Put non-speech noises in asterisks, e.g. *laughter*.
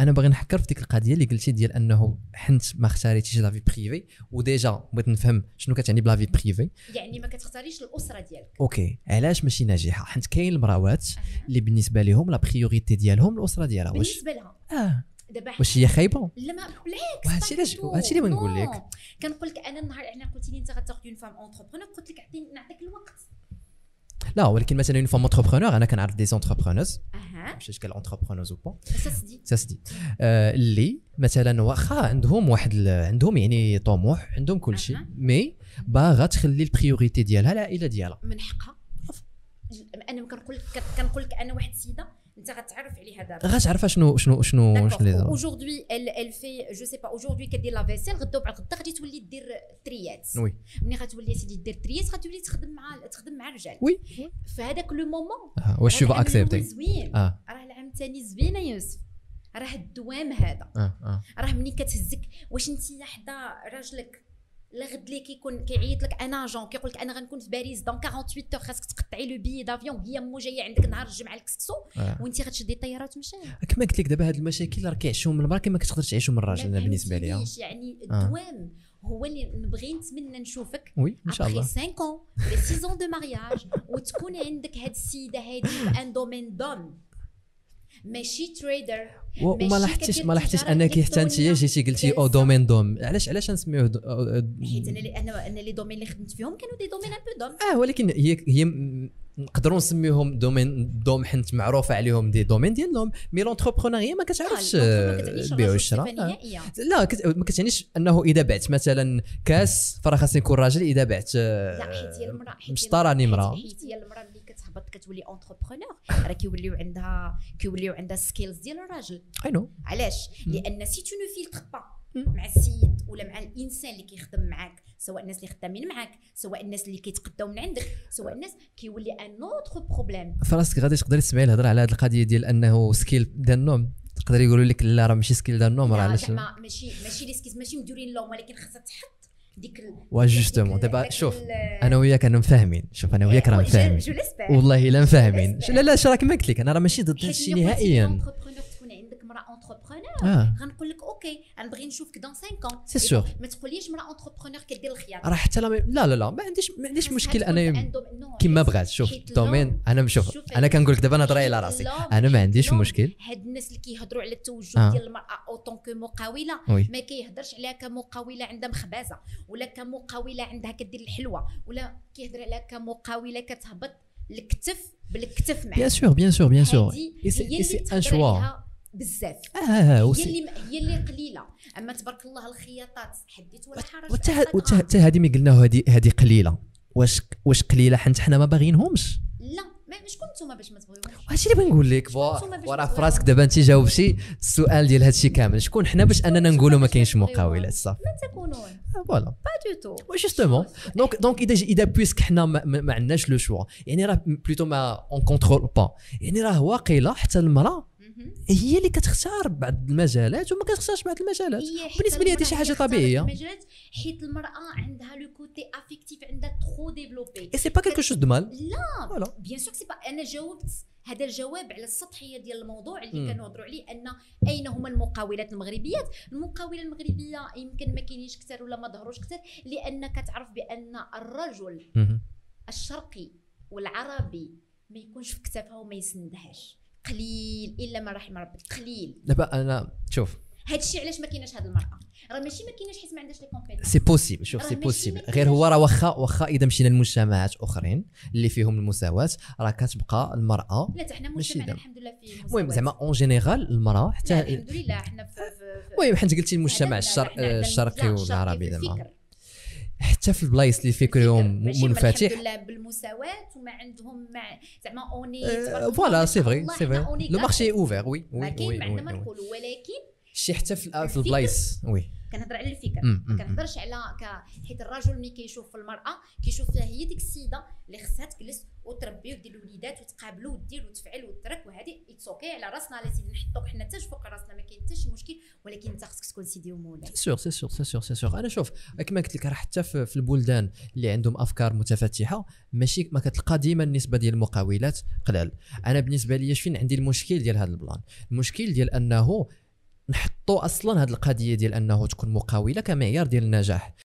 انا باغي نحكر في ديك القضيه اللي قلتي ديال انه حنت ما اختاريتيش لافي بريفي وديجا بغيت نفهم شنو كتعني بلافي بريفي يعني ما كتختاريش الاسره ديالك اوكي علاش ماشي ناجحه حيت كاين المراوات اللي بالنسبه لهم لا بريوريتي ديالهم الاسره ديالها آه، واش بالنسبه لها اه دابا حنا- واش هي خايبه لا ما بالعكس وهادشي علاش- صاحبو. وهادشي اللي بغيت نقول نو. لك. كنقول لك انا النهار انا قلت لي انت غتاخذ اون فام اونتربرونور قلت لك عطيني نعطيك الوقت لا ولكن مثلا اون فام اونتربرونور انا كنعرف دي زونتربرونوز اها ماشي قال اونتربرونوز او با بس سدي سا سدي آه، اللي مثلا واخا عندهم واحد ال- عندهم يعني طموح عندهم كل شيء أها. مي باغا تخلي البريوريتي ديالها العائله ديالها من حقها انا كنقول لك كنقول لك انا واحد السيده انت غتعرف عليها دابا غتعرف شنو شنو شنو شنو D'accord. اللي Aujourd'hui, elle, elle fait, je sais pas, aujourd'hui, qu'elle dit la vaisselle, غدا بعد غدا غادي تولي دير تريات. وي ملي غتولي يا سيدي دير تريات غتولي تخدم مع تخدم مع الرجال. وي في هذاك لو مومون آه، واش راه تشوف العام الأول اكسبتي زوين اه راه العام الثاني زوينه يوسف راه الدوام هذا اه اه راه ملي كتهزك واش انت حدا راجلك لا غد لي كيكون كيعيط لك انا جون كيقول لك انا غنكون في باريس دون 48 اور خاصك تقطعي لو بي دافيون هي مو جايه عندك نهار الجمعه الكسكسو آه. وانت غتشدي الطياره وتمشي كما قلت لك دابا هاد المشاكل راه كيعيشوهم المراه كما كتقدر تعيشهم الراجل ما انا بالنسبه لي آه. فهمتينيش، يعني آه. الدوام هو اللي نبغي نتمنى نشوفك وي ان شاء ابخي الله 5 ans ولا 6 ans de *laughs* mariage وتكون عندك هاد السيده هادي في ان دومين دوم ماشي تريدر و- وما ماشي لاحظتيش كدير ما لاحظتيش تجارة انك حتى انت إلكترونية جيتي قلتي او جالسة. دومين دوم علاش علاش نسميوه د- أو- أو- حيت انا اللي- انا انا لي دومين اللي خدمت فيهم كانوا دي دومين ان بو دوم اه ولكن هي هي م- نقدروا نسميهم دومين دوم حنت معروفه عليهم دي دومين ديالهم مي لونتربرونيا ما كتعرفش آه، البيع والشراء آه. لا كت... ما كتعنيش انه اذا بعت مثلا كاس فراه خاصني نكون راجل اذا بعت آه، لا حيت هي المراه حيت هي مش طراني المرأة- امراه حيت هي المراه اللي كتهبط كتولي اونتربرونور راه كيوليو عندها كيوليو عندها سكيلز ديال الراجل اي نو علاش مم. لان سي تو نو فيلتر با مم. مع السيد ولا مع الانسان اللي كيخدم معاك سواء الناس اللي خدامين معاك سواء الناس اللي كيتقداو من عندك سواء آه. الناس كيولي ان اوتر بروبليم فراسك غادي تقدري تسمعي الهضره على هذه القضيه ديال انه سكيل ديال النوم تقدر يقولوا لك لا راه ماشي سكيل ديال النوم راه علاش يعني زعما ماشي ماشي ليسكيز ماشي مدورين لهم ولكن خاصها تحط ديك ال- وا ديك جوستومون ال- دابا داك شوف ال- انا وياك انا مفاهمين شوف انا وياك راه جو- مفاهمين جو ليسبير والله الا مفاهمين بس- لا لا شرا كما قلت لك انا راه ماشي ضد هادشي نهائيا تكون عندك امراه اونتربرونور اه غنقول لك اوكي انا بغي نشوفك دون 5 ans سي سيغ ما تقوليش امراه اونتربرونور كدير الخيار راه حتى لا لا لا, لا ما عنديش ما عنديش خاصها مشكل تكون انا عندهم- نو، كيما حيت- بغات شوف حيت دومين انا مشوف شوف انا كنقول لك دابا نهضر حيت على راسي اللوم- انا ما حيت عنديش اللوم مشكل هاد الناس اللي كيهضروا على آه. التوجه ديال المراه اوتون كو مقاوله وي ما كيهضرش عليها كمقاوله عندها مخبازه ولا كمقاوله عندها كدير الحلوه ولا كيهضر عليها كمقاوله كتهبط الكتف بالكتف معاك بيان سور بيان سور بيان سور هادي إي سي- هي إي سي اللي أن تهضر شوا. عليها بزاف اه اه هي آه، وسي- اللي هي اللي قليله اما تبارك الله الخياطات حديت ولا حرج وتا على صدرها. وتا- تا هادي ملي قلناها هادي هادي قليله واش واش قليله حنت حنا ما باغيينهمش لا ما شكون نتوما باش ما تبغيوهمش هادشي اللي بنقول لك فوا- نتوما باش وراه نقولها. في راسك دابا انت جاوبتي السؤال ديال هادشي كامل شكون حنا باش اننا شكون نقولوا ما باش كاينش نبغيوها؟ مقاولات صافي من تكونون آه، فوالا با دو تو وي جوستومون دونك دونك اذا ج- اذا بويسك حنا ما, ما, ما عندناش لو شوا يعني راه بلوتو ما اون كونترول با يعني راه واقيلا حتى المراه هي اللي كتختار بعض المجالات وما كتختارش بعض المجالات بالنسبة لي هادي شي حاجة طبيعية. حيت المراه عندها لو كوتي افيكتيف عندها ترو ديفلوبي اي سي با كيلكو شوز دو مال لا فوالا بيان سور سي با انا جاوبت هذا الجواب على السطحيه ديال الموضوع مم. اللي كنهضروا عليه ان اين هما المقاولات المغربيات المقاوله المغربيه يمكن ما كاينينش كثر ولا ما ظهروش كثر لان كتعرف بان الرجل مهم. الشرقي والعربي ما يكونش في كتافها وما يسندهاش قليل الا ما رحم ربي قليل دابا انا شوف هادشي علاش ما كايناش هاد المراه راه ماشي ما كايناش حيت ما عندهاش لي كومبيتونس سي بوسيبل شوف راه سي ماشي بوسيبل ما غير هو راه واخا واخا اذا مشينا لمجتمعات اخرين اللي فيهم المساواه راه كتبقى المراه لا حتى حنا ماشي مجتمعنا دابا. الحمد لله فيه المهم مساواة. زعما اون جينيرال المراه لا، حتى الحمد لله حنا في, في, في المهم حيت قلتي هذا- المجتمع الشر... حنا عندنا الشرقي لا، والعربي في زعما الفكر. حتى في البلايص اللي فكرهم الفكر. ماشي هما منفتح الحمد لله بالمساواه وما عندهم مع زعما اوني Euh, voilà, c'est vrai, c'est vrai. Le marché est ouvert, oui. oui, ما oui, كاين ما oui, عندنا ما oui. نقولوا ولكن شي حتى في ال- في الفكر. البلايص وي كنهضر على الفكر أم، أم، ما كنهضرش على ك... حيت الرجل ملي كيشوف في المراه كيشوف فيها هي ديك السيده اللي خصها تجلس وتربي ودير الوليدات وتقابلوا ودير وتفعل وترك وهذه اتس اوكي على راسنا على سيدي نحطوك حنا حتى فوق راسنا ما كاين حتى شي مشكل ولكن انت خصك تكون سيدي ومولاي سي سور سي سور سي سور سي سور انا شوف كما قلت لك راه حتى في في البلدان اللي عندهم افكار متفتحه ماشي ما كتلقى ديما النسبه ديال المقاولات قلال انا بالنسبه لي فين عندي المشكل ديال هذا البلان المشكل ديال انه نحطوا اصلا هذه القضيه ديال انه تكون مقاوله كمعيار ديال النجاح